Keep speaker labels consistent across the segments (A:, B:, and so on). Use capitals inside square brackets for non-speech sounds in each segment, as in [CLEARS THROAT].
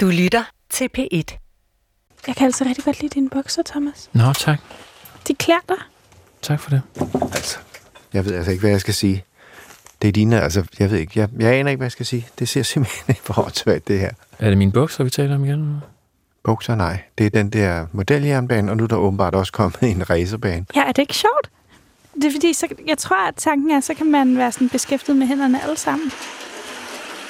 A: Du lytter til P1.
B: Jeg kan altså rigtig godt lide dine bukser, Thomas.
C: Nå, tak.
B: De klæder dig.
C: Tak for det.
D: Altså, jeg ved altså ikke, hvad jeg skal sige. Det er dine, altså, jeg ved ikke, jeg, jeg aner ikke, hvad jeg skal sige. Det ser [LAUGHS] simpelthen ikke for åndssvagt, det her.
C: Er det mine bukser, vi taler om igen?
D: Bukser, nej. Det er den der modeljernbane, og nu er der åbenbart også kommet en racerbane.
B: Ja, er det ikke sjovt? Det er fordi, så, jeg tror, at tanken er, så kan man være sådan beskæftiget med hænderne alle sammen.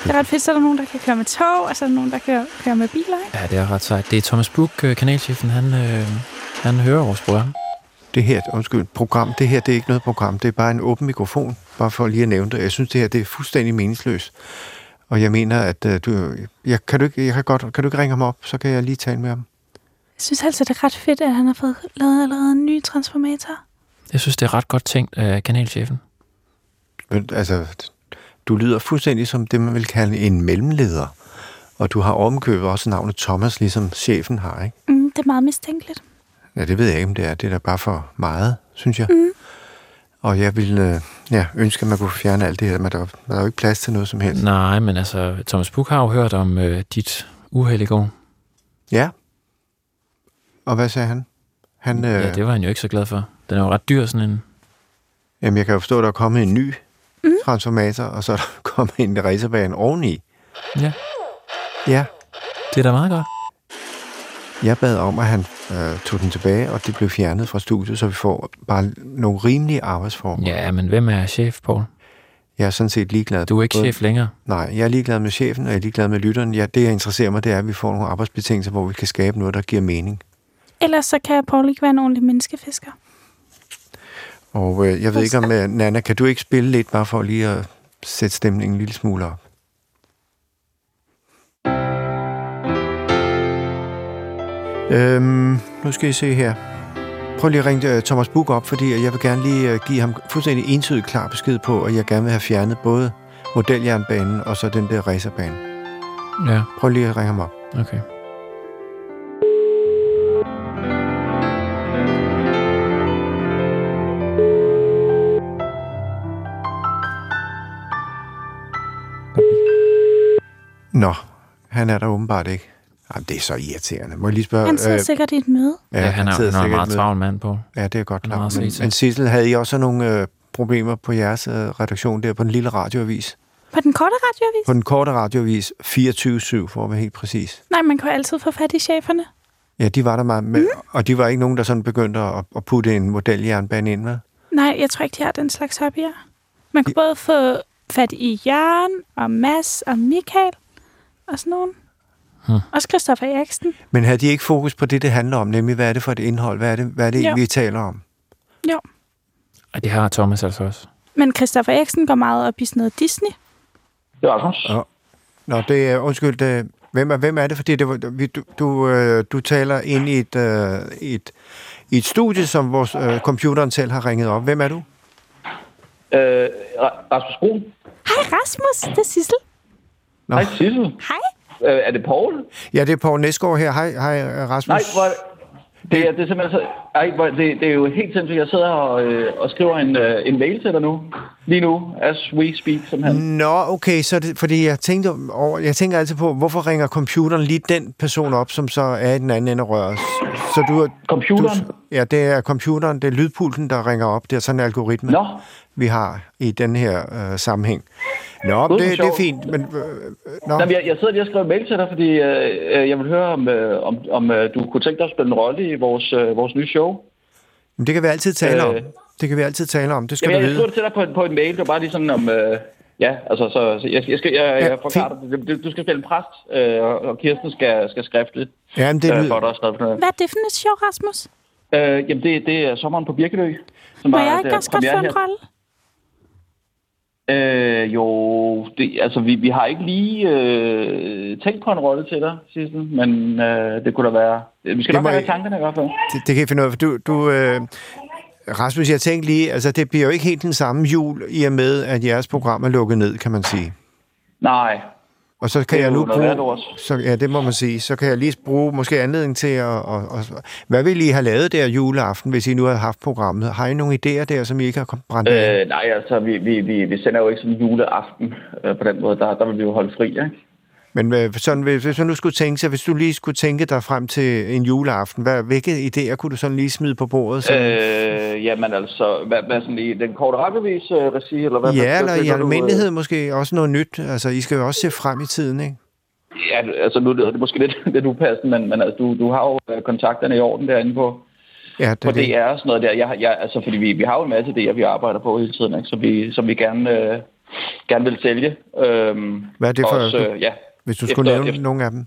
B: Det er ret fedt, så er der nogen, der kan køre med tog, og så er der nogen, der kan køre med biler. Ikke?
C: Ja, det er ret sejt. Det er Thomas Buk, øh, kanalchefen. Han, øh, han hører vores program.
D: Det her, undskyld, program, det her, det er ikke noget program. Det er bare en åben mikrofon, bare for lige at nævne det. Jeg synes, det her, det er fuldstændig meningsløst. Og jeg mener, at øh, du, jeg, kan du ikke, jeg kan godt, kan du ikke ringe ham op, så kan jeg lige tale med ham.
B: Jeg synes altså, det er ret fedt, at han har fået lavet allerede en ny transformator.
C: Jeg synes, det er ret godt tænkt af kanalchefen.
D: Men, altså, du lyder fuldstændig som det, man vil kalde en mellemleder. Og du har omkøbet også navnet Thomas, ligesom chefen har, ikke?
B: Mm, det er meget mistænkeligt.
D: Ja, det ved jeg ikke, om det er. Det er da bare for meget, synes jeg. Mm. Og jeg ville øh, ja, ønske, at man kunne fjerne alt det her, men der, der er jo ikke plads til noget som helst.
C: Nej, men altså, Thomas Buk har jo hørt om øh, dit uheld i går.
D: Ja. Og hvad sagde han? Han, øh,
C: Ja, det var han jo ikke så glad for. Den er jo ret dyr, sådan en.
D: Jamen, jeg kan jo forstå, at der er kommet en ny mm. transformator, og så er der [LAUGHS] kommet en racerbane oveni.
C: Ja,
D: Ja,
C: det er da meget godt.
D: jeg bad om, at han øh, tog den tilbage, og det blev fjernet fra studiet, så vi får bare nogle rimelige arbejdsformer.
C: Ja, men hvem er chef, Paul?
D: Jeg er sådan set ligeglad.
C: Du er ikke
D: Både-
C: chef længere.
D: Nej, jeg er ligeglad med chefen, og jeg er ligeglad med lytteren. Ja, det, jeg interesserer mig, det er, at vi får nogle arbejdsbetingelser, hvor vi kan skabe noget, der giver mening.
B: Ellers så kan Paul ikke være en ordentlig menneskefisker.
D: Og øh, jeg ved ikke om, øh, Nana, kan du ikke spille lidt, bare for lige at sætte stemningen en lille smule op? Øhm, nu skal I se her. Prøv lige at ringe øh, Thomas Buk op, fordi jeg vil gerne lige øh, give ham fuldstændig entydigt klar besked på, at jeg gerne vil have fjernet både modeljernbanen og så den der racerbane.
C: Ja,
D: Prøv lige at ringe ham op.
C: okay.
D: Nå, han er der åbenbart ikke. Jamen, det er så irriterende. Må jeg lige spørge?
B: Han sidder øh, sikkert i et møde.
C: Ja, ja han, er,
D: sidder
C: han er en
D: sikkert
C: meget
D: med-
C: travl mand, Paul.
D: Ja, det er godt
C: Han er
D: klart.
C: meget
D: Men,
C: flittig.
D: men Sissel, havde I også nogle øh, problemer på jeres øh, redaktion der på den lille radioavis?
B: På den korte radioavis?
D: På den korte radioavis 24-7, for at være helt præcis.
B: Nej, man kan jo altid få fat i cheferne.
D: Ja, de var der meget med, mm. og de var ikke nogen, der sådan begyndte at, at putte en modeljernbane ind, med.
B: Nej, jeg tror ikke, de har den slags hobbyer. Man kan både få fat i Jørgen og Mads og Michael og sådan nogen. Hmm. Også Christoffer Eriksen.
D: Men havde de ikke fokus på det, det handler om, nemlig hvad er det for et indhold, hvad er det, hvad er det
B: Jo.
D: egentlig, vi taler om?
B: Jo.
C: Og det har Thomas altså også.
B: Men Christoffer Eriksen går meget op i sådan noget Disney.
E: Det er Rasmus.
D: Ja. Nå, det er, undskyld, det, hvem, er, hvem er det? Fordi det, var- vi- du, du, øh, du taler ind i et, øh, et, i et studie, som vores øh, computeren selv har ringet op. Hvem er du?
E: Øh, Ra- Rasmus Brun.
B: Hej Rasmus, det er Sissel.
D: Nå.
E: Hej, Sissel.
B: Hej.
E: Øh, er det Paul?
D: Ja, det er Poul Næsgaard her. Hej, hej Rasmus.
E: Nej, hvor... Det er, det er simpelthen så... Ej, hvor, det, det er jo helt sindssygt. Jeg sidder her og, øh, og skriver en, øh, en mail til dig nu. Lige nu, as we speak, simpelthen.
D: Nå, okay, så er det, fordi jeg, tænkte over, jeg tænker altid på, hvorfor ringer computeren lige den person op, som så er i den anden ende af røret? Så du, er-
E: Computeren?
D: Du, ja, det er computeren, det er lydpulten, der ringer op. Det er sådan en algoritme,
E: Nå.
D: vi har i den her øh, sammenhæng. Nå,
E: Gud,
D: det,
E: hvor
D: det er
E: sjovt.
D: fint, men... Øh, øh, nå.
E: Jamen, jeg, jeg sidder lige og skriver en mail til dig, fordi øh, øh, jeg vil høre, om, øh, om, om øh, du kunne tænke dig at spille en rolle i vores, øh, vores nye show.
D: Men det kan vi altid tale om.
E: Øh.
D: Det kan vi altid tale om, det skal
E: Jamen, jeg,
D: du
E: jeg
D: vide.
E: skriver det til dig på, en- på en mail. Det var bare lige sådan om... Øh, ja, altså, så, så jeg, jeg, skal, jeg, jeg forklarer dig. det. Du- Du skal spille en præst, øh, og og Kirsten skal, skal skriftligt.
D: Jamen, det
E: Det øh, for, at der
D: lyder...
E: er skrevet noget.
B: Hvad er det for et show, Rasmus?
E: Øh, jamen, det, det er sommeren på Birkelø. Som
B: Må
E: var
B: jeg
E: et,
B: ikke
E: øh,
B: også godt få
E: premiere
B: en
E: her.
B: rolle?
E: Øh, jo, det, altså, vi, vi har ikke lige øh, tænkt på en rolle til dig, Sissel, men øh, det kunne da være... Vi
D: Det
E: skal det
D: må
E: nok have
D: jeg-
E: i tankerne i hvert fald.
D: Det, det kan jeg finde ud af, for du... du øh, Rasmus, jeg tænkte lige, altså det bliver jo ikke helt den samme jul, i og med, at jeres program er lukket ned, kan man sige.
E: Nej,
D: Og så kan
E: Det
D: jeg
E: er jo
D: nu
E: noget værd
D: bruge...
E: ord.
D: Så, ja, det må man sige. Så kan jeg lige bruge måske anledning til at... Og, og, hvad ville I have lavet der juleaften, hvis I nu havde haft programmet? Har I nogle idéer der, som I ikke har kom- brændt af?
E: øh, nej altså, vi, vi, vi, vi sender jo ikke sådan juleaften øh, på den måde. Der, der vil vi jo holde fri, ikke?
D: Men øh, sådan, hvis, hvis man nu skulle tænke sig, hvis du lige skulle tænke dig frem til en juleaften, hvad, hvilke idéer kunne du sådan lige smide på bordet? Så?
E: Øh, jamen altså, hvad, hvad sådan i den korte rækkevis øh, regi, eller hvad?
D: ja,
E: hvad-
D: eller
E: hvad
D: i
E: tænker du, øh?
D: almindelighed måske også noget nyt. Altså, I skal jo også se frem i tiden, ikke?
E: Ja, altså nu lyder det måske lidt, [LAUGHS] lidt upassende, men, men altså, du, du har jo øh, kontakterne i orden derinde på,
D: Ja,
E: på DR og sådan noget der. Jeg, jeg, altså, fordi vi, vi har jo en masse idéer, vi arbejder på hele tiden, ikke? Som, vi, som vi gerne, øh, gerne vil sælge. Øhm,
D: Hvad er det for-
E: Også, øh, ja.
D: Hvis du skulle
E: Efter-
D: nævne
E: efter-
D: nogle af dem.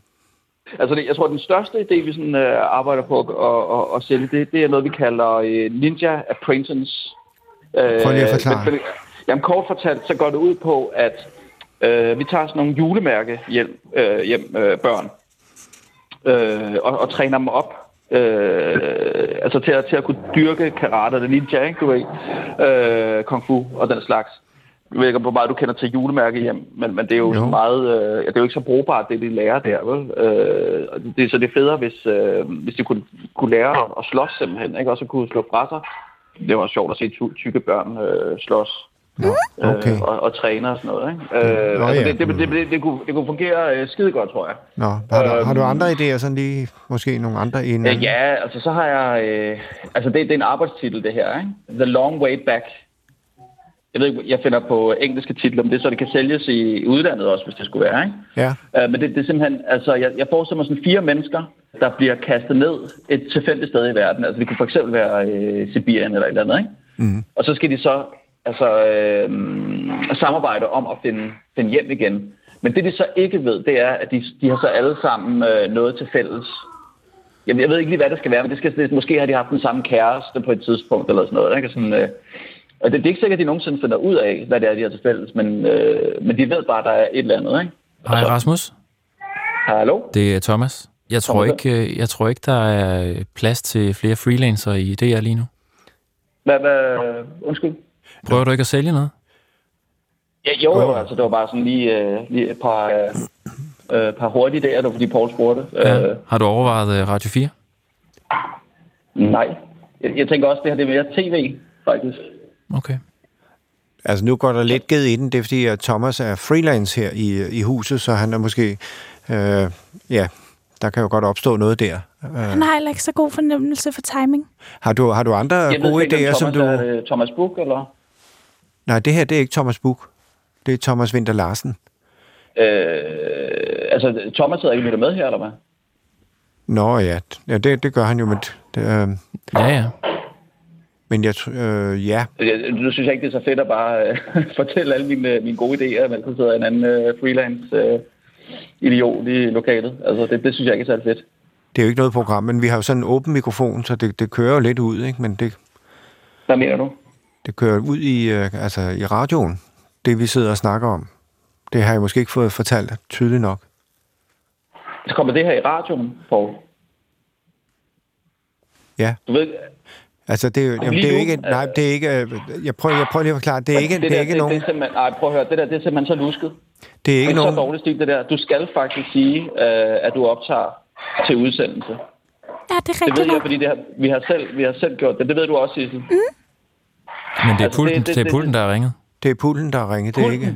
E: Altså, det, jeg tror, den største idé, vi sådan, øh, arbejder på at, at, at, at sælge, det, det er noget, vi kalder øh, Ninja Apprentice. Øh,
D: Prøv lige at forklare.
E: men- men- Jamen, kort fortalt, så går det ud på, at øh, vi tager sådan nogle julemærke hjem, øh, hjem øh, børn øh, og, og træner dem op. Øh, altså til at, til at kunne dyrke karate, det er ninja, ikke, du ved, øh, kung fu og den slags. Jeg ved ikke, om hvor meget du kender til julemærke hjem, men, men det er jo,
D: Jo.
E: jo. meget, øh, ja, det er jo ikke så brugbart, det de lærer der, vel? Øh, og det, så det er federe, hvis, øh, hvis de kunne, kunne lære at, at slås simpelthen, ikke? Også at kunne slå fra sig. Det var sjovt at se ty- tykke børn øh, slås
D: Nå, okay.
E: øh, og, og træner og sådan noget. Ikke? Øh,
D: Nå,
E: altså,
D: ja. Mm.
E: det, det, det, det, det, kunne, det kunne fungere øh, skide godt, tror jeg.
D: Nå, har, du, har du
E: Øhm.
D: andre idéer sådan lige? Måske nogle andre end...
E: Øh, ja, altså så har jeg... Øh, altså det, det er en arbejdstitel, det her. Ikke? The Long Way Back. Jeg ved ikke, jeg finder på engelske titler, men det er så, det kan sælges i udlandet også, hvis det skulle være. Ikke?
D: ja.
E: Øh, men det, det er simpelthen, altså jeg, jeg forestiller mig sådan fire mennesker, der bliver kastet ned et tilfældigt sted i verden. Altså det kunne for eksempel være øh, Sibirien eller et eller andet, ikke? Mm. Og så skal de så altså, øh, samarbejde om at finde, finde hjem igen. Men det de så ikke ved, det er, at de, de har så alle sammen øh, noget til fælles. Jeg, jeg ved ikke lige, hvad det skal være, men det skal, det, måske har de haft den samme kæreste på et tidspunkt eller sådan noget. Ikke? Og Sådan, øh, og det, det er ikke sikkert, at de nogensinde finder ud af, hvad det er, de har til fælles, men, øh, men de ved bare, at der er et eller andet. Ikke?
C: Hej Rasmus,
E: Hallo?
C: det er Thomas. Jeg tror,
E: Thomas.
C: ikke, øh, jeg tror ikke, der er plads til flere freelancer i DR lige nu.
E: Hvad, hvad, undskyld?
C: Prøver du ikke at sælge noget?
E: Ja, jo, jo, altså det var bare sådan lige, øh, lige et par, øh, øh, par hurtige idéer, det var fordi Paul spurgte.
C: Ja.
E: Øh,
C: Har du overvejet øh, Radio 4?
E: nej. Jeg, jeg tænker også, det her det er mere tv, faktisk.
C: Okay.
D: Altså, nu går der lidt ged i den. Det er fordi, at Thomas er freelance her i, i huset, så han er måske... Øh, ja, der kan jo godt opstå noget der. Øh,
B: Han har heller ikke så god fornemmelse for timing.
D: har, du, har du andre
E: Jeg
D: gode
E: ikke, om
D: idéer, som
E: Thomas
D: du...
E: Er, øh, Thomas Buch, eller?
D: Nej, det her, det er ikke Thomas Buk. Det er Thomas Vinter Larsen.
E: Øh, altså, Thomas sidder ikke lyttet med her, eller hvad?
D: Nå ja, ja det, det gør han jo, men, det, øh,
C: Ja, ja.
D: men jeg... tr- Øh, ja,
E: Jeg- Nu synes jeg ikke, det er så fedt at bare øh, [LAUGHS] fortælle alle mine, øh, mine gode idéer, men så sidder en anden øh, freelance øh, idiot i lokalet. Altså, det, det synes jeg ikke er særlig fedt.
D: det er jo ikke noget program, men vi har jo sådan en åben mikrofon, så det, det kører jo lidt ud, ikke? Men det,
E: Hvad mener du?
D: det kører ud i, øh, altså, i radioen, det vi sidder og snakker om. Det har jeg måske ikke fået fortalt tydeligt nok.
E: Så kommer det her i radioen, Paul.
D: Ja.
E: Du ved,
D: Altså, det er, jo- jamen,
E: lige
D: det er jo
E: nu,
D: ikke... Nej, det er ikke... øh, Jeg prøver, jeg prøver lige at forklare. Det er ikke, det
E: der,
D: er ikke
E: Altså, det, Det
D: nogen...
E: er simpelthen, ej, prøv at høre, det der, det er simpelthen så lusket.
D: Det er
E: Det
D: ikke
E: er så
D: nogen...
E: dårlig stil, det der. Du skal faktisk sige, øh, at du optager til udsendelse.
B: Ja, det er
E: Det ved
B: rigtigt
E: jeg,
B: nok.
E: fordi det har, vi, har selv, vi har selv gjort det. Det ved du også, Sissel.
C: Men det er
E: Altså,
C: pulten, det,
E: det- det-
C: det,
E: det-
C: er pulten der er ringet.
D: Det er pulten, der har ringet. Det er ikke...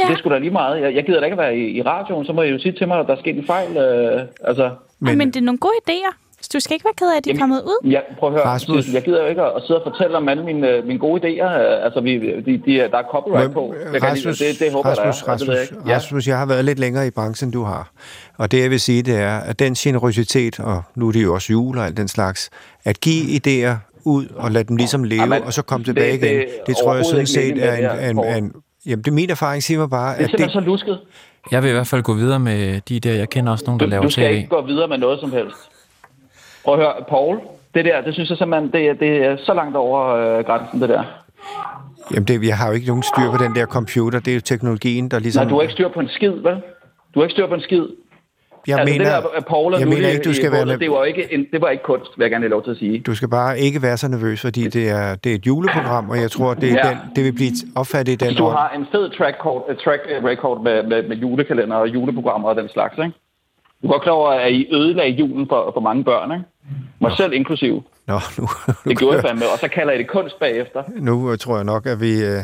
B: Ja,
E: Det er sgu da lige meget. Jeg, jeg gider da ikke at være i, i radioen, så må jeg jo sige til mig, at der er sket en fejl. Øh, altså,
B: men, men det er nogle gode idéer. Så du skal ikke være ked af, at de er
E: Jamen-
B: kommet ud.
E: jeg, prøv at høre,
D: Rasmus.
E: Sissel, jeg gider jo ikke at, at sidde og fortælle om alle mine, øh, mine gode idéer. Øh, Altså, vi, de, de, er- der er copyright
D: Men,
E: på. Jeg kan lige-
D: Rasmus,
E: det, det håber
D: Rasmus,
E: jeg, der er. Altså, Det ved jeg
D: Rasmus,
E: ikke.
D: jeg, Rasmus, jeg har været lidt længere i branchen, end du har. Og det, jeg vil sige, det er, at den generositet, og nu er det jo også jul og alt den slags, at give idéer ud og lade dem ligesom leve,
E: Mm. Jamen,
D: og så komme
E: det-
D: tilbage
E: det er
D: igen. Det tror jeg
E: overhovedet
D: sådan
E: ikke
D: set
E: meningen
D: er
E: med
D: en...
E: det her,
D: en,
E: Kåre.
D: en, jamen, det er min erfaring, siger mig bare,
E: Det er
D: at
E: simpelthen
D: det...
E: så lusket.
C: Jeg vil i hvert fald gå videre med de der. Jeg kender også nogen, der
E: Du,
C: laver
E: du skal
C: tv.
E: ikke gå videre med noget som helst. Prøv at høre, Paul, det der, det synes jeg simpelthen, det, er- det er så langt over øh, grænsen, det der.
D: Jamen, det, jeg har jo ikke nogen styr på den der computer. Det er jo teknologien, der ligesom...
E: Nej, du har ikke styr på en skid, vel? Du har ikke styr på en skid.
D: jeg
E: altså,
D: mener,
E: det der, Paul og
D: jeg
E: Nutte
D: mener ikke,
E: i-
D: du
E: i
D: skal være
E: bålet,
D: med...
E: Det var, ikke en, det var ikke kunst, vil jeg gerne have lov til at sige.
D: Du skal bare ikke være så nervøs, fordi det er, det er et juleprogram, og jeg tror, det, er
E: Ja.
D: den, det vil blive opfattet i den
E: Du
D: ånd.
E: har en fed track, record, øh, track record med, med, med julekalender og juleprogrammer og den slags, ikke? Du er godt klar over, at I ødelagde julen for, for mange børn, ikke? Mig selv inklusiv.
D: Nå, nu, [LAUGHS] nu,
E: Det gjorde jeg
D: kører,
E: fandme, og så kalder I det kunst bagefter.
D: nu øh, tror jeg nok, at vi, øh,
E: Det,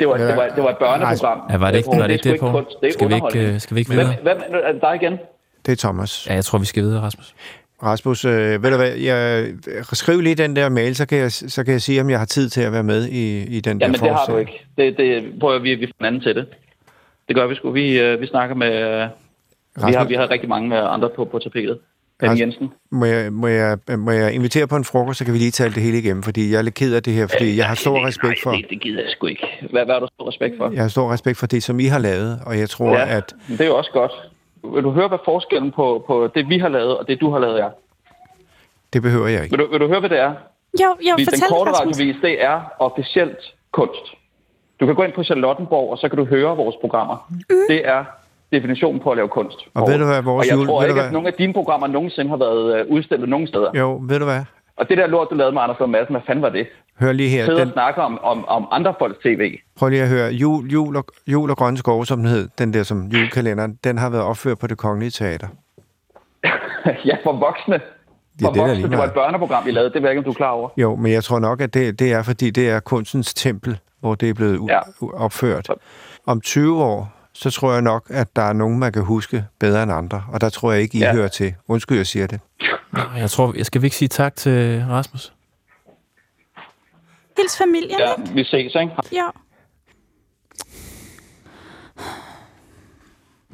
E: det, var, det, var, det var et børneprogram.
C: Ja, Altså, var det ikke
E: Paul.
C: var det, ikke det
E: sgu
C: på?
E: kunst, det er
C: Skal vi ikke,
E: underholdning.
C: øh, skal vi ikke
E: Hvem,
C: videre?
E: hvem, er det dig igen?
D: Det er Thomas.
C: Ja, jeg tror, vi skal videre, Rasmus.
D: Rasmus, øh, ved du hvad, jeg, skriv lige den der mail, så kan, jeg, så kan jeg sige, om jeg har tid til at være med i, i den
E: Jamen,
D: der
E: det har du
D: forestilling.
E: ikke. Det, det, prøv at vi, vi får en anden til det. Det gør vi sgu. Vi, øh, vi snakker med... øh, Vi har,
D: Rasmus?
E: vi har rigtig mange øh, andre på, på tapetet.
D: Rasmus?
E: Anne Jensen.
D: Må jeg, må, jeg, må jeg invitere på en frokost, så kan vi lige tale det hele igennem, fordi jeg er lidt ked af det her, fordi jeg har stor respekt for,
E: Nej, det, det gider jeg sgu ikke. Hvad, hvad har du stor respekt for?
D: jeg har stor respekt for det, som I har lavet, og jeg tror, ja. at
E: men det er jo også godt. Vil du høre, hvad forskellen på, på det, vi har lavet, og det, du har lavet, er?
D: det behøver jeg ikke.
E: Vil du, vil du høre, hvad det er?
B: Jo, jo,
E: Fordi den
B: fortæl
E: korte
B: Rasmus.
E: radiovis, det er officielt kunst. Du kan gå ind på Charlottenborg, og så kan du høre vores programmer.
B: Mm.
E: Det er definitionen på at lave kunst.
D: Og ved du hvad, vores
E: og jeg
D: jul-
E: tror
D: ved du
E: ikke,
D: hvad?
E: at nogen af dine programmer nogensinde har været øh, udstillet nogen steder.
D: Jo, ved du hvad?
E: Og det der lort, du lavede med Anders Lund Madsen, hvad fanden var det?
D: Hør lige her.
E: Sidde
D: Den,
E: og snakke om, om, om andre folks tv.
D: prøv lige at høre. Jul, jul, og, jul og grønne skove, som den hed, den der som julekalenderen, den har været opført på det kongelige teater.
E: [LAUGHS] ja, for voksne.
D: det
E: For
D: er da
E: voksne.
D: lige
E: det, var
D: meget.
E: et børneprogram, I lavede. Det ved jeg ikke, om du er klar over.
D: Jo, men jeg tror nok, at det, det er, fordi det er kunstens tempel, hvor det er blevet u-
E: Ja.
D: ja. opført. Om 20 år, så tror jeg nok, at der er nogen, man kan huske bedre end andre, og der tror jeg ikke, I
E: Ja.
D: ja. hører til. Undskyld, jeg siger det.
C: Nå, Jeg tror, jeg skal vi ikke sige tak til Rasmus?
B: Hils familien,
E: Ja,
B: ikke?
E: vi ses, ikke?
B: Jo.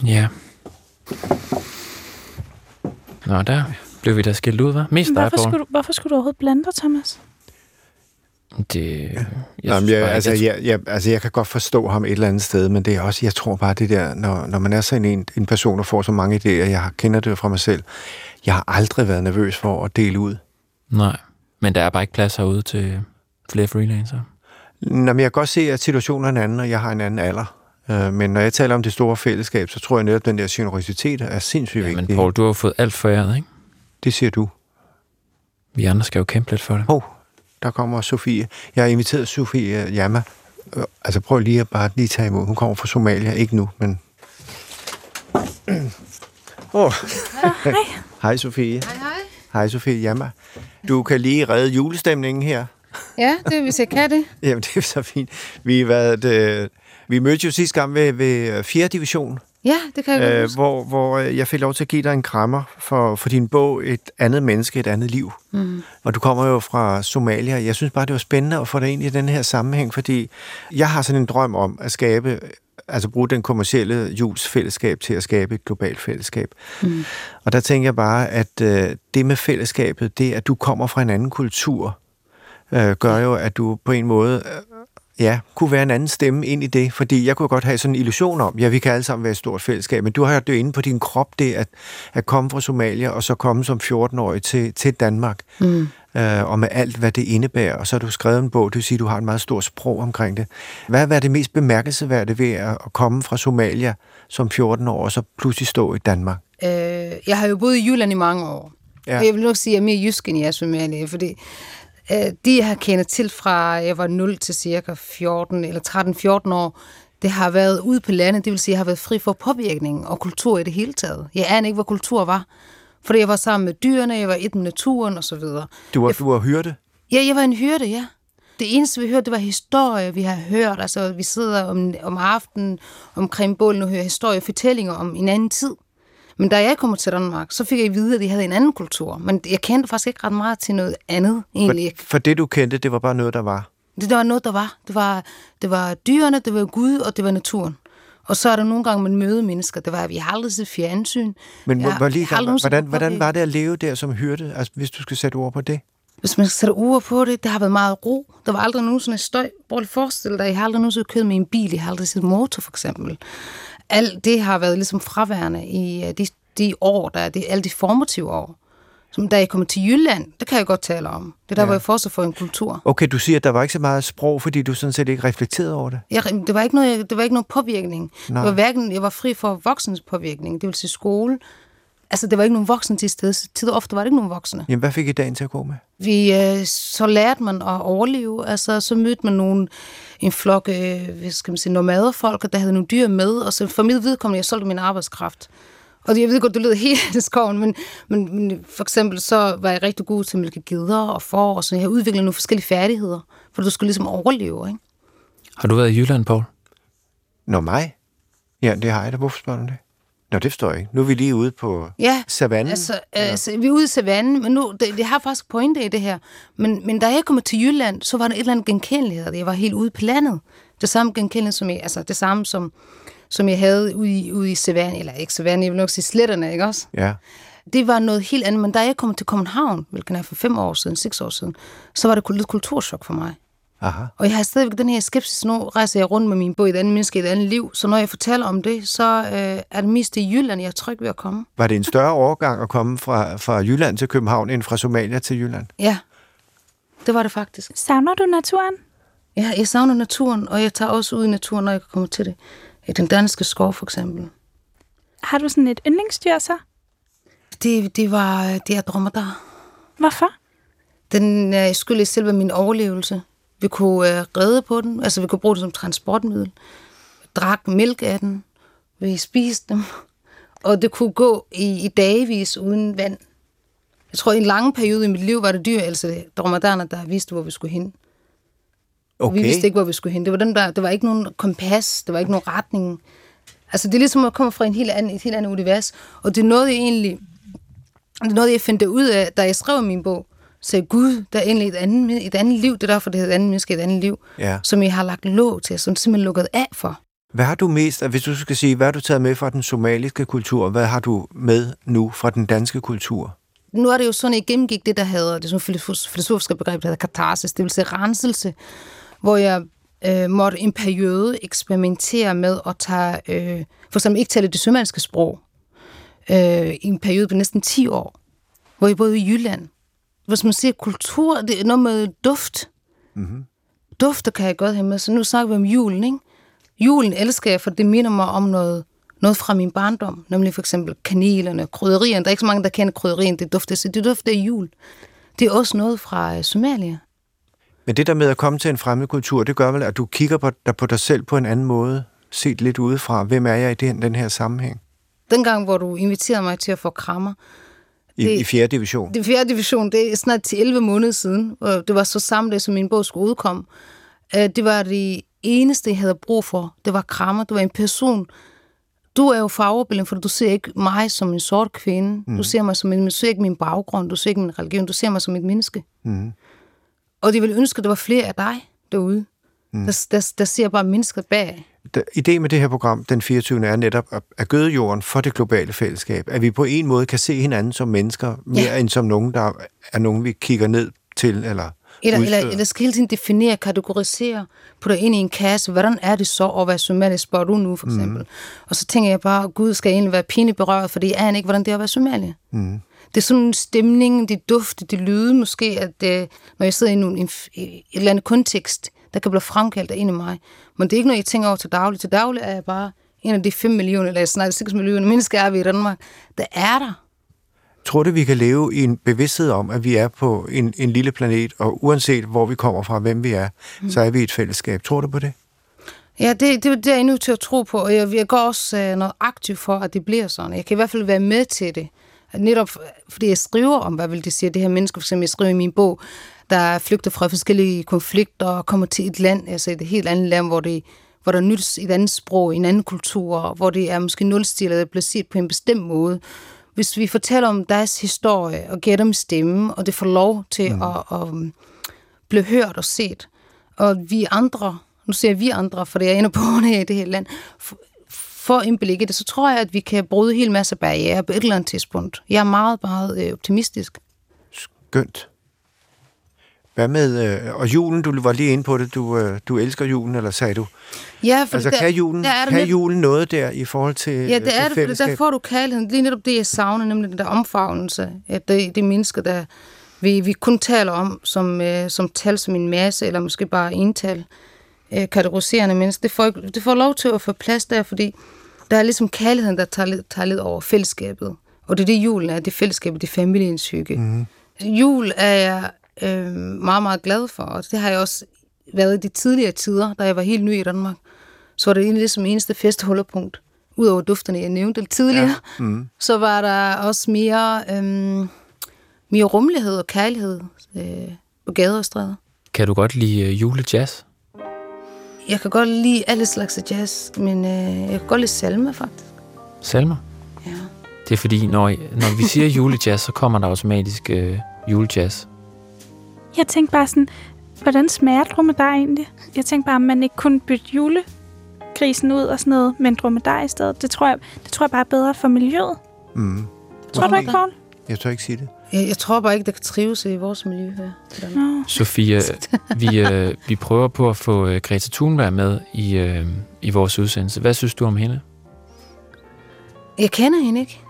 C: Ja. Nå, der blev vi da skilt ud, hva'? Mest
B: Men
C: dig,
B: Hvorfor
C: Poul.
B: skulle, du, hvorfor skulle du overhovedet blande dig, Thomas?
C: Det... Jeg
D: Jeg, Jamen,
C: synes
D: jeg,
C: bare,
D: altså,
C: jeg,
D: jeg, jeg, altså, jeg kan godt forstå ham et eller andet sted, men det er også, jeg tror bare det der, når, når man er sådan en, en person, der får så mange idéer, jeg har- kender det jo fra mig selv, jeg har aldrig været nervøs for at dele ud.
C: Nej, men der er bare ikke plads herude til flere freelancer.
D: Nå, men jeg kan godt se, at situationen er en anden, og jeg har en anden alder. Øh, men når jeg taler om det store fællesskab, så tror jeg netop, at den der generositet er sindssygt
C: Men
D: vigtig.
C: Poul, du har jo fået alt foræret, ikke?
D: Det siger du.
C: Vi andre skal jo kæmpe lidt for det.
D: Hov, der kommer Sofie. Jeg har inviteret Sofie Jamma. Øh, Altså prøv lige at bare lige tage imod. Hun kommer fra Somalia. Ikke nu, men... [CLEARS THROAT] Åh, oh,
B: Hej.
D: hej Sofie.
A: Hej, hej.
D: Hej Sofie Jamma. Du kan lige redde julestemningen her.
A: Ja, det er, hvis jeg kan det.
D: Jamen, [LAUGHS] det er så fint. Vi, har været, øh, vi mødte jo sidste gang ved, ved 4. division,
A: Ja, det kan jeg godt
D: øh,
A: huske.
D: hvor, hvor øh, jeg fik lov til at give dig en krammer for, for din bog Et andet menneske, et andet liv. Mm. Og du kommer jo fra Somalia. Jeg synes bare, det var spændende at få dig ind i den her sammenhæng, fordi jeg har sådan en drøm om at skabe, altså bruge den kommercielle julsfællesskab til at skabe et globalt fællesskab. Mm. Og der tænker jeg bare, at øh, det med fællesskabet, det at du kommer fra en anden kultur, øh, gør jo, at du på en måde øh, ja, kunne være en anden stemme ind i det, fordi jeg kunne godt have sådan en illusion om, ja, vi kan alle sammen være et stort fællesskab, men du har jo det inde på din krop, det at, at komme fra Somalia og så komme som 14-årig til, til Danmark, mm. øh, og med alt, hvad det indebærer, og så har du skrevet en bog, det vil sige, du har en meget stor sprog omkring det. Hvad hvad er det mest bemærkelsesværdige ved at at komme fra Somalia som 14 år og så pludselig stå i Danmark?
A: Øh, jeg har jo boet i Jylland i mange år.
D: Ja.
A: Ja. Og jeg vil nok sige, at jeg er mere jysk, end jeg er somalier, fordi øh, det, jeg har kendt til fra jeg var 0 til cirka 14 eller 13-14 år, det har været ude på landet, det vil sige, at jeg har været fri for påvirkning og kultur i det hele taget. Jeg anede ikke, hvad kultur var, fordi jeg var sammen med dyrene, jeg var et med naturen osv.
D: Du var, du var hyrde?
A: Ja, jeg var en hyrde, ja. Det eneste, vi hørte, det var historie, vi har hørt. Altså, vi sidder om, om aftenen omkring bålen og hører historie og fortællinger om en anden tid. Men da jeg kom til Danmark, så fik jeg at vide, at de havde en anden kultur. Men jeg kendte faktisk ikke ret meget til noget andet, egentlig.
D: For, for det, du kendte, det var bare noget, der var.
A: Det der var noget, der var. Det var, det var dyrene, det var Gud, og det var naturen. Og så er der nogle gange, man møder mennesker. Det var, at vi har aldrig set fjernsyn.
D: Men
A: Jeg
D: ja, var lige i
A: har aldrig
D: gang,
A: nogensinde
D: hvordan,
A: fået
D: hvordan
A: påvirket.
D: var det at leve der som hyrde, altså, hvis du skal sætte ord på det?
A: Hvis man skal sætte ord på det, det har været meget ro. Der var aldrig nogensinde støj. Prøv lige at forestille dig, jeg har aldrig nogensinde kørt med en bil. Jeg har aldrig set motor, for eksempel. Alt det har været ligesom fraværende i øh, de, de år, der er, de, alle de formative år. Som da jeg kommer til Jylland, det kan jeg godt tale om. Det er der, ja. hvor jeg fortsat får en kultur.
D: Okay, du siger, at der var ikke så meget sprog, fordi du sådan set ikke reflekterede over det.
A: Jeg, det, var ikke noget, jeg- det var ikke noget påvirkning.
D: Nej.
A: Det var hverken, jeg var fri for voksens påvirkning, det vil sige skole. Altså, der var ikke nogen voksne til stede. Så Tid og ofte var der ikke nogen voksne.
D: Jamen, hvad fik I dagen til at gå med?
A: Vi, øh, så lærte man at overleve, altså så mødte man nogle, en flok, øh, hvad skal man sige, nomaderfolk, der havde nogle dyr med, og så for mit vedkommende, jeg solgte min arbejdskraft. Og jeg ved godt, du lød [LAUGHS] helt i skoven, men, men, men, for eksempel så var jeg rigtig god til at mælke geder og får, og så jeg har udviklet nogle forskellige færdigheder, for du skulle ligesom overleve, ikke?
C: Har du været i Jylland, Paul?
D: Nå, mig? Ja, det har jeg da. Hvorfor spørger du det? Nå, det forstår jeg ikke. Nu er vi lige ude på
A: Ja,
D: savannen.
A: Altså, altså, vi er ude i savannen, men nu, det, det har faktisk pointe i det her. Men, men da jeg kom til Jylland, så var der et eller andet genkendelighed. Jeg var helt ude på landet. Det samme genkendelighed, som jeg, altså det samme som, som jeg havde ude i, ude i savannen, eller ikke savannen, jeg vil nok sige sletterne, ikke også?
D: Ja.
A: Det var noget helt andet, men da jeg kom til København, hvilket er for fem år siden, seks år siden, så var det lidt kulturschok for mig.
D: Aha.
A: Og jeg har stadigvæk den her skepsis, nu rejser jeg rundt med min bog i et andet menneske, i et andet liv, så når jeg fortæller om det, så øh, er det mest i Jylland, jeg er tryg ved at komme.
D: Var det en større overgang at komme fra, fra Jylland til København, end fra Somalia til Jylland?
A: Ja, det var det faktisk.
B: Savner du naturen?
A: Ja, jeg savner naturen, og jeg tager også ud i naturen, når jeg kommer til det. I den danske skov, for eksempel.
B: Har du sådan et yndlingsdyr så?
A: Det, det var øh, det, jeg drømmer der.
B: Hvorfor?
A: Den øh, skyldes selve min overlevelse. Vi kunne øh, redde på den, altså vi kunne bruge den som transportmiddel. Drak mælk af den. Vi spiste dem. Og det kunne gå i, i dagevis uden vand. Jeg tror, i en lang periode i mit liv var det dyr, altså dromadaner, der vidste, hvor vi skulle hen. Okay. Vi vidste ikke, hvor vi skulle hen. Det var, den der, det var ikke nogen kompas, det var ikke nogen retning. Altså, det er ligesom at komme fra en helt anden, et helt andet univers. Og det er noget, jeg egentlig... Det er noget, jeg fandt ud af, da jeg skrev min bog. Så jeg, Gud, der er egentlig et andet, et andet liv. Det er derfor, det hedder et andet menneske, et andet liv.
D: Ja.
A: Som jeg har lagt låg til, som simpelthen lukket af for.
D: Hvad har du mest, hvis du skal sige, hvad har du taget med fra den somaliske kultur, hvad har du med nu fra den danske kultur?
A: nu er det jo sådan, at jeg gennemgik det, der hedder, det er sådan et filosofs- filosofisk begreb, der hedder katarsis, det vil sige renselse, hvor jeg øh, måtte en periode eksperimentere med at tage, øh, for eksempel ikke tale det sømanske sprog, øh, i en periode på næsten 10 år, hvor jeg boede i Jylland. Hvis man siger kultur, det er noget med duft. Mm-hmm. Dufter kan jeg godt have med, så nu snakker vi om julen, ikke? Julen elsker jeg, for det minder mig om noget, noget fra min barndom, nemlig for eksempel kanelerne, krydderierne. Der er ikke så mange, der kender krydderien, det dufter, så det dufter af jul. Det er også noget fra øh, Somalia.
D: Men det der med at komme til en fremmed kultur, det gør vel, at du kigger på dig, på dig selv på en anden måde, set lidt udefra. Hvem er jeg i den, den her sammenhæng?
A: Dengang, hvor du inviterede mig til at få krammer,
D: I,
A: Det-
D: i 4. division.
A: Det fjerde division, det er snart 11 måneder siden, og det var så samme dag, som min bog skulle udkomme. Øh, Det var det eneste, jeg havde brug for. Det var krammer, det var en person. Du er jo farvebilledende, for du ser ikke mig som en sort kvinde. Mm. Du ser mig som en, du ser ikke min baggrund, du ser ikke min religion, du ser mig som et menneske. Mm. Og de ville ønske, at der var flere af dig derude. Mm. Der, der, der ser bare mennesket bag.
D: Det, idé med det her program, den 24. er netop at, at gøde jorden for det globale fællesskab. At vi på en måde kan se hinanden som mennesker, mere ja. end som nogen, der er nogen, vi kigger ned til eller
A: Eller, eller,
D: udstøder.
A: eller skal hele tiden definere, kategorisere, putte ind i en kasse, hvordan er det så at være somalisk, spørger du nu for eksempel. Mm. Og så tænker jeg bare, gud skal jeg egentlig være pinligt berørt, for det er han ikke, hvordan det er at være somalier. Mm. Det er sådan en stemning, det duft, det lyde måske, at øh, når jeg sidder i nogle, en, et eller andet kontekst, der kan blive fremkaldt af en af mig. Men det er ikke noget, jeg tænker over til daglig. Til daglig er jeg bare en af de 5 millioner, eller snart 6 millioner mennesker, er vi i Danmark, der er der.
D: Tror du, vi kan leve i en bevidsthed om, at vi er på en, en lille planet, og uanset hvor vi kommer fra, hvem vi er, mm. så er vi i et fællesskab? Tror du på det?
A: Ja, det, det, det er jeg nu til at tro på, og jeg, jeg går også øh, noget aktivt for, at det bliver sådan. Jeg kan i hvert fald være med til det. Netop f- fordi jeg skriver om, hvad vil det sige, det her menneske, for eksempel jeg skriver i min bog, der flygter fra forskellige konflikter og kommer til et land, altså et helt andet land, hvor, det, hvor der nyttes et andet sprog, en anden kultur, og hvor det er måske nulstillet og placeret på en bestemt måde. Hvis vi fortæller om deres historie og giver dem stemme, og det får lov til mm. at, at, blev hørt og set. Og vi andre, nu ser jeg vi andre, for det er inde på her i det her land, f- får indblik i det, så tror jeg, at vi kan bryde en hel masse barriere på et eller andet tidspunkt. Jeg er meget, meget øh, optimistisk.
D: Skønt. Hvad med, øh, og julen, du var lige inde på det, du, øh, du elsker julen, eller sagde du?
A: Ja, for
D: Altså,
A: der,
D: kan julen,
A: der er det
D: kan
A: net-
D: julen noget der i forhold til øh,
A: Ja, det er det, for
D: fællesskab?
A: der får du kærligheden. Lige netop det, jeg savner, nemlig den der omfavnelse. At det, det menneske, der vi, vi kun taler om som, øh, som tal, som en masse, eller måske bare ental, øh, kategoriserende mennesker, det får, ikke- det får lov til at få plads der, fordi der er ligesom kærligheden, der tager, lidt- tager lidt over fællesskabet. Og det er det, julen er. Det er fællesskabet, det er familiens hygge.
D: Mhm.
A: Mm. Jul er jeg øh, meget, meget glad for, og det har jeg også været i de tidligere tider, da jeg var helt ny i Danmark. Så var det egentlig ligesom eneste festholderpunkt. Udover dufterne, jeg nævnte lidt tidligere, ja. mm. [LAUGHS] så var der også mere, øhm, mere rummelighed og kærlighed øh, på gader og stræder.
C: Kan du godt lide øh, julejazz?
A: Jeg kan godt lide alle slags af jazz, men øh, jeg kan godt lide salmer faktisk.
C: Salmer?
A: Ja.
C: Det er fordi, når, når vi siger julejazz, så kommer der automatisk øh, julejazz.
B: Jeg tænkte bare sådan, hvordan smager dromedar egentlig? Jeg tænkte bare, om man ikke kunne bytte julegrisen ud og sådan noget, men dromedar i stedet. Det tror jeg, det tror jeg bare er bedre for miljøet.
D: Mm.
B: Tror du ikke, Paul?
D: Jeg tør ikke sige det.
A: Jeg, jeg tror bare ikke, der kan trives i vores miljø her. i Danmark.
B: Nå.
A: [LAUGHS]
C: Sofie, vi, øh, vi prøver på at få øh, Greta Thunberg med i, øh, i vores udsendelse. Hvad synes du om hende?
A: Jeg kender hende ikke.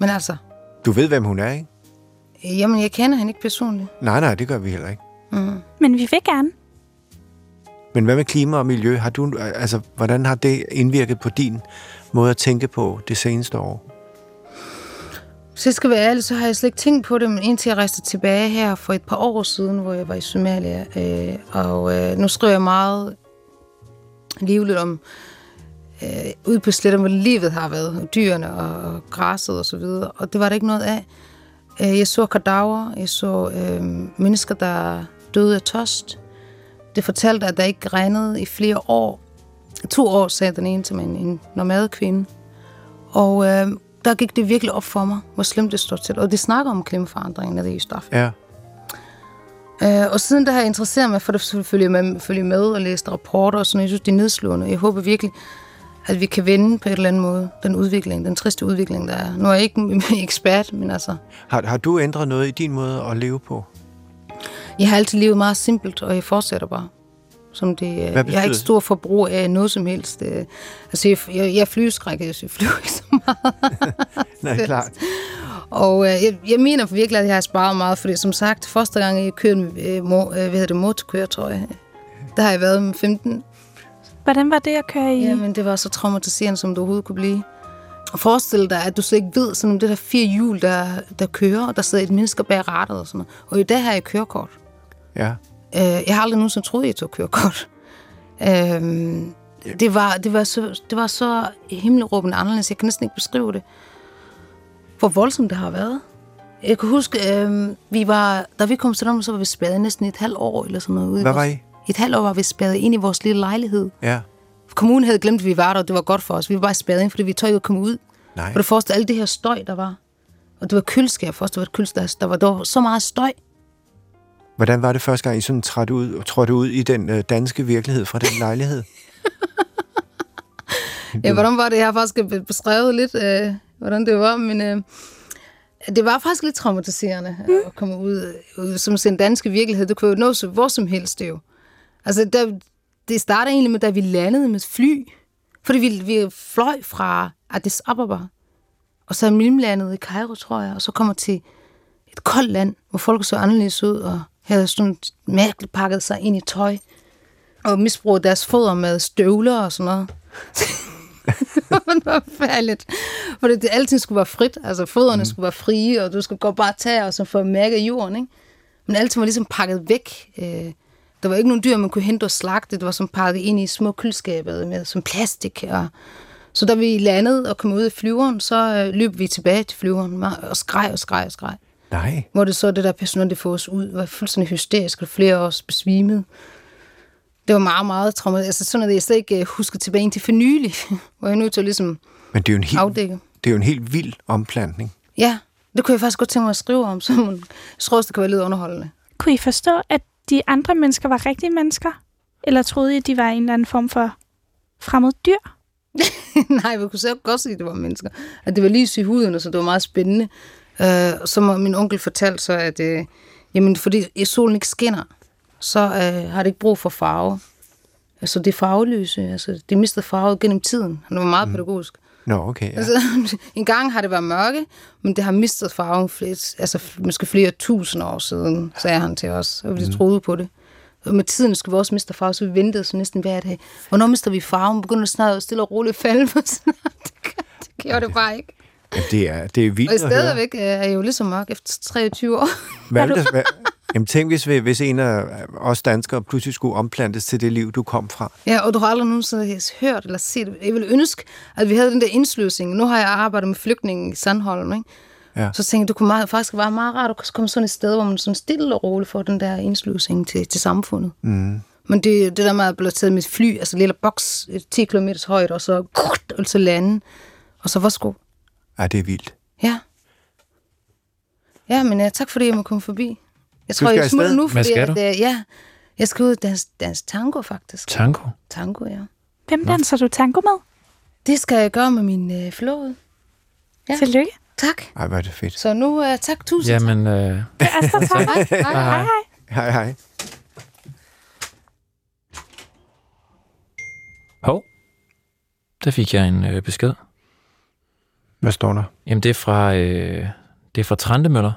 A: Men altså,
D: Du ved, hvem hun er, ikke?
A: jamen jeg kender hende ikke personligt.
D: Nej, nej, det gør vi heller ikke.
A: Mm.
B: Men vi vil gerne.
D: Men hvad med klima og miljø? Har du, altså, hvordan har det indvirket på din måde at tænke på det seneste år?
A: Så jeg skal være ærlig, så har jeg slet ikke tænkt på det, men indtil jeg rejste tilbage her for et par år siden, hvor jeg var i Somalia. Øh, og øh, nu skriver jeg meget livligt om, øh, ude på sletterne, hvor livet har været, og dyrene og, og græsset og så videre, og det var der ikke noget af. Øh, jeg så kadaver, jeg så øh, mennesker, der døde af tost. Det fortalte, at der ikke regnede i flere år. To år, sagde den ene til mig, en, en nomadekvinde. Og øh, der gik det virkelig op for mig, hvor slemt det står til. Og det snakker om klimaforandringen af det i stof.
D: Ja.
A: Øh, og siden der har jeg interesseret mig for det, så følger med, følger med og læst rapporter og sådan noget. Jeg synes, det er nedslående. Jeg håber virkelig, at vi kan vende på et eller andet måde den udvikling, den triste udvikling, der er. Nu er jeg ikke [LAUGHS] ekspert, men altså,
D: Har, har du ændret noget i din måde at leve på? [LAUGHS]
A: jeg har altid levet meget simpelt, og jeg fortsætter bare. Som det,
D: Hvad
A: øh, jeg
D: betyder
A: har ikke
D: det?
A: stor forbrug af noget som helst. Øh, Altså, jeg, jeg, jeg flyskrækker, jeg flyver [LAUGHS] ikke så meget.
D: Nej,
A: Fedt.
D: klart.
A: Og øh, jeg, jeg mener virkelig, at jeg har sparet meget, fordi som sagt, første gang jeg kørte øh, mo, øh, hvad hedder det, motorkøretøj, øh, der har jeg været med 15,
B: Hvordan var det at køre i? Jamen.
A: Jamen, det var så traumatiserende, som det overhovedet kunne blive. Og forestil dig, at du slet ikke ved, sådan om det der fire hjul, der, der kører, og der sidder et menneske bag rattet og sådan noget. Og i dag har jeg kørekort.
D: Ja.
A: Øh, jeg har aldrig nogensinde troet, jeg tog kørekort. Øh, det, var, det, var så, det var så himmelråbende anderledes. Jeg kan næsten ikke beskrive det. Hvor voldsomt det har været. Jeg kan huske, øh, vi var, da vi kom til dem, så var vi spadet næsten et halvt år eller sådan noget. Ude
D: Hvad var
A: vores,
D: I?
A: Et halvt år var vi spadet ind i vores lille lejlighed.
D: Ja.
A: Kommunen havde glemt, at vi var der, og det var godt for os. Vi var bare spadet ind, fordi vi tør ikke at komme ud.
D: Nej.
A: Og du forestiller dig, alt det her støj, der var. Og det var køleskab først, det var et køleskab, der var, der var så meget støj.
D: Hvordan var det første gang, I sådan trådte ud, og trådte ud i den øh, danske virkelighed fra den lejlighed?
A: Ja, hvordan var det? Jeg har faktisk be- beskrevet lidt, øh, hvordan det var, men øh, det var faktisk lidt traumatiserende mm. at komme ud, ud som sådan en dansk virkelighed. Du kunne jo nå så hvor som helst, det jo. Altså, der, det starter egentlig med, da vi landede med fly, fordi vi, vi fløj fra Addis Ababa, og så mellemlandet i Cairo, tror jeg, og så kommer til et koldt land, hvor folk så anderledes ud, og havde sådan mærkeligt pakket sig ind i tøj, og misbrugte deres fødder med støvler og sådan noget. [LAUGHS] det var forfærdeligt. For det, alting skulle være frit. Altså, fødderne mm. skulle være frie, og du skulle gå bare tage og så få mærke af jorden, ikke? Men alting var ligesom pakket væk. Øh, der var ikke nogen dyr, man kunne hente og slagte. Det var som pakket ind i små køleskabet med som plastik. Og... Så da vi landede og kom ud af flyveren, så øh, løb vi tilbage til flyveren ma- og skreg og skreg og skreg.
D: Nej.
A: Hvor det så det der personale, det får os ud, var fuldstændig hysterisk, og flere af os besvimede. Det var meget, meget traumatisk. Altså sådan, at jeg slet ikke øh, husker tilbage indtil for nylig, [LAUGHS] hvor jeg nu til at ligesom
D: Men det er jo en helt,
A: afdække.
D: det er jo en helt vild omplantning.
A: Ja, det kunne jeg faktisk godt tænke mig at skrive om, [LAUGHS] så man- jeg tror også, det kan være lidt underholdende. [LAUGHS]
B: Kunne I forstå, at de andre mennesker var rigtige mennesker? Eller troede I, at de var en eller anden form for fremmed dyr?
A: Nej, vi kunne selv godt se, at det var mennesker. At det var lys i huden, og så det var meget spændende. Uh, så må min onkel fortalte så, at uh, jamen, fordi solen ikke skinner, så uh, har det ikke brug for farve. Altså det farveløse, altså det mister farve gennem tiden. Han var meget mm. pædagogisk.
D: Nå, okay. Ja.
A: Altså, [LAUGHS] en gang har det været mørke, men det har mistet farven flere, altså f- måske flere tusind år siden, sagde han til os, og vi troede på det. Og med tiden skulle vi også miste farve, så vi ventede så næsten hver dag. Hvornår mister vi farven? Begynder det snart at stille og roligt falde for snart. [LAUGHS] Det, gør- det gjorde det bare ikke.
D: Ja, det er, det er vildt
A: Og
D: at høre.
A: stadigvæk øh, er jeg jo lige så mørk efter 23 år.
D: Hvad vil der, hvad, jamen tænk, hvis, vi, hvis en af øh, os danskere pludselig skulle omplantes til det liv, du kom fra.
A: Ja, og du har aldrig nogensinde hørt eller set. Jeg ville ønske, at vi havde den der indslusning. Nu har jeg arbejdet med flygtninge i Sandholm, ikke?
D: Ja.
A: Så tænkte jeg, det kunne meget, faktisk være meget rart at komme sådan et sted, hvor man sådan stille og roligt får den der indslusning til, til samfundet. Mm. Men det, det der med at blive taget med et fly, altså en lille boks, 10 km højt, og så, kut, og så lande, og så værsgo.
D: Ja, det er vildt.
A: Ja. Ja, men ja, tak fordi jeg må komme forbi. Jeg tror,
D: skal
A: jeg smutter
D: afsted?
A: nu, fordi
C: skal
A: at,
C: du?
A: øh, ja, jeg skal ud og danse, danse tango, faktisk.
C: Tango?
A: Tango, ja.
B: Hvem danser du tango med?
A: Det skal jeg gøre med min øh, flåde. Ja.
B: Ja. Tillykke.
A: Tak.
D: Ej, hvor er det fedt.
A: Så nu, øh, tak tusind.
C: Jamen, øh,
B: Det er Asta, [LAUGHS] tak.
A: tak. Hej,
B: Hej, hej.
A: hej.
D: Hej, hej.
C: hov. Der fik jeg en øh, besked.
D: Hvad står der?
C: Jamen, det er fra, øh, det er fra Trantemøller.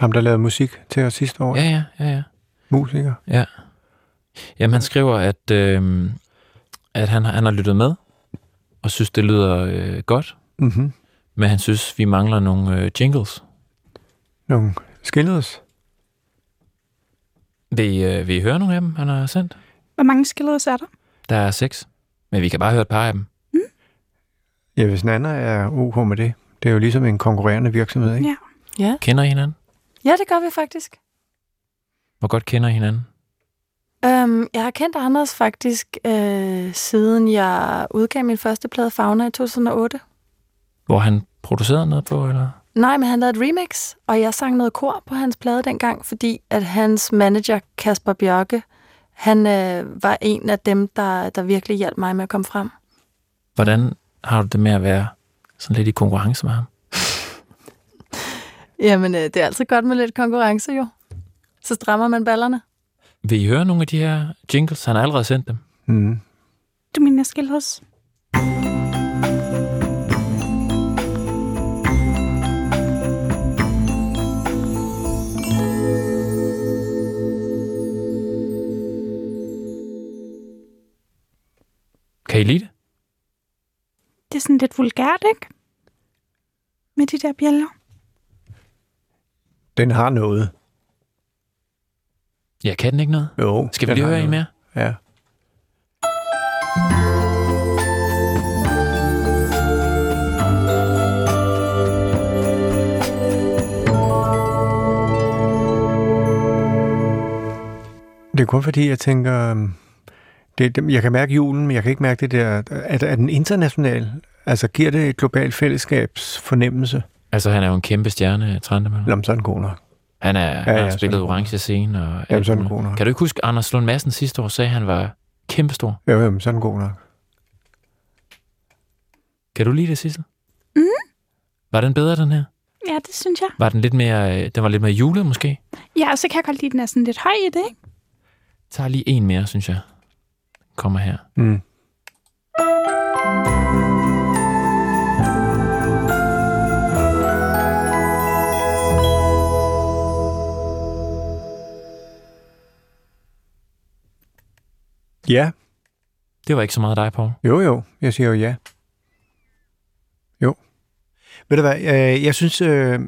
D: Ham, der lavede musik til os sidste år.
C: Ja, ja, ja, ja.
D: Musiker.
C: ja. Jamen, han skriver, at, øh, at han, har- han har lyttet med, og synes, det lyder øh, godt,
D: Mm-hmm.
C: men han synes, vi mangler nogle øh, jingles.
D: Nogle skilledes.
C: Vil I, øh, vil I høre nogle af dem, han har sendt?
B: Hvor mange skillers er der?
C: Der er seks, men vi kan bare høre et par af dem.
D: Ja, hvis Nana er ok med det. Det er jo ligesom en konkurrerende virksomhed, ikke?
B: Ja.
C: Kender I hinanden?
F: Ja, det gør vi faktisk.
C: Hvor godt kender I hinanden?
F: Øhm, jeg har kendt Anders faktisk, øh, siden jeg udgav min første plade Fauna i 2008.
C: Hvor han producerede noget på, eller?
F: Nej, men han lavede et remix, og jeg sang noget kor på hans plade dengang, fordi at hans manager, Kasper Bjørke, han øh, var en af dem, der, der virkelig hjalp mig med at komme frem.
C: Hvordan har du det med at være sådan lidt i konkurrence med ham?
F: Jamen, øh, det er altid godt med lidt konkurrence jo. Så strammer man ballerne.
C: Vil I høre nogle af de her jingles? Han har allerede sendt dem.
D: Mm.
B: Du mener skillers?
C: Kan I lide det?
B: Det er sådan lidt vulgært, ikke? Med de der bjæller.
D: Den har noget.
C: Jeg kan den ikke noget.
D: Jo.
C: Skal vi
D: den
C: lige
D: har
C: høre en
D: noget.
C: mere?
D: Ja. Det er kun fordi, jeg tænker, øhm, det, det- jeg kan mærke julen, men jeg kan ikke mærke det der, at, at den international, altså giver det et globalt fællesskabs fornemmelse?
C: Altså, han er jo en kæmpe stjerne, Trantemøller.
D: Jamen, så er den god nok.
C: Han er, ja,
D: ja,
C: ja, har
D: sådan
C: spillet
D: er det.
C: orange scene. Og alt
D: Jamen, så er den
C: muligt.
D: god nok.
C: Kan du ikke huske, Anders Lund Madsen sidste år sagde, at han var kæmpestor?
D: Jo, jamen, så er den god nok.
C: Kan du lide det, Sissel? Mm. Var den bedre, den her?
B: Ja, det synes jeg.
C: Var den lidt mere, øh, den var lidt mere julet, måske?
B: Ja, og så kan jeg godt lide, at den er sådan lidt høj i det, ikke?
C: Jeg tager lige en mere, synes jeg. Kommer her.
D: Mm. Ja,
C: Det var ikke så meget dig, Paul.
D: jo jo, jeg siger jo ja. Jo. Ved du hvad, øh, jeg synes, øh,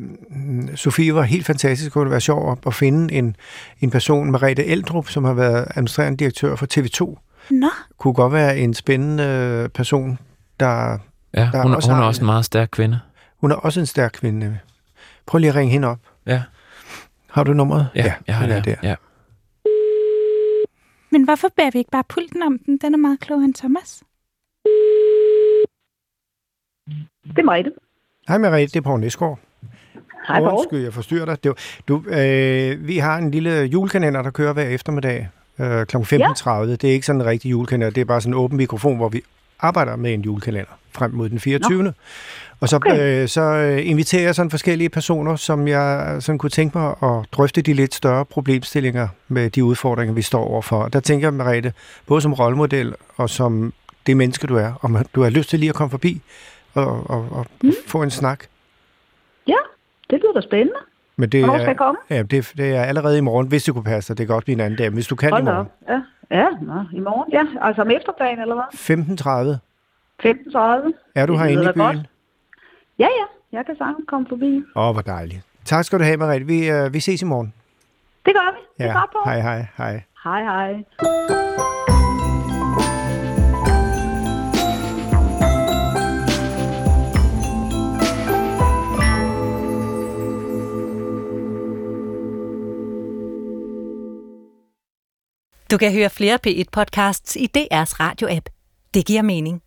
D: Sofie var helt fantastisk. Det kunne være sjovt at- at finde en, en person, Merete Eldrup, som har været administrerende direktør for TV2
B: Nå,
D: kunne godt være en spændende øh, person, der...
C: Ja,
D: Der er
C: hun,
D: også
C: hun er
D: ham.
C: også en meget stærk kvinde.
D: Hun er også en stærk kvinde. Prøv lige at ringe hende op.
C: Ja.
D: Har du nummeret?
C: Ja, jeg har
D: den er
C: det. Ja.
B: men hvorfor bærer vi ikke bare pulten om den? Den er meget klogere end Thomas.
G: Det er Mariette.
D: Hej Merete, det er Poul Næsgaard.
G: Hej, Borg.
D: Undskyld, jeg forstyrrer dig. Det var, du, øh, vi har en lille julekalender, der kører hver eftermiddag øh, kl. 15.30. Det er ikke sådan en rigtig julekalender, det er bare sådan en åben mikrofon, hvor vi arbejder med en julekalender frem mod den 24. Nå. Og så, okay. øh, så øh, inviterer jeg sådan forskellige personer, som jeg sådan kunne tænke mig at drøfte de lidt større problemstillinger med de udfordringer, vi står overfor. Der tænker jeg, Merete, både som rollemodel og som det menneske, du er, om du har lyst til lige at komme forbi og, og, og mm. få en snak.
G: Ja, det lyder da spændende.
D: Men det
G: Hvornår
D: er,
G: skal jeg komme?
D: Ja, det, det er allerede i morgen, hvis det kunne passe dig. Det kan godt blive en anden dag, men hvis du kan i
G: Hold da
D: morgen.
G: op. Ja, ja nå, i morgen. Ja, altså om eftermiddagen eller hvad?
D: 15.30.
G: 15.30.
D: Er du
G: Det
D: herinde i
G: lyder da
D: byen?
G: godt. Ja, ja, jeg kan sagtens komme forbi.
D: Åh, oh, hvor dejligt. Tak skal du have, Marit. Vi, øh, vi ses i morgen.
G: Det gør vi. Det er godt, Borg.
D: Hej, hej, hej.
G: Hej, hej.
H: Du kan høre flere P1-podcasts i DR's radio-app. Det giver mening.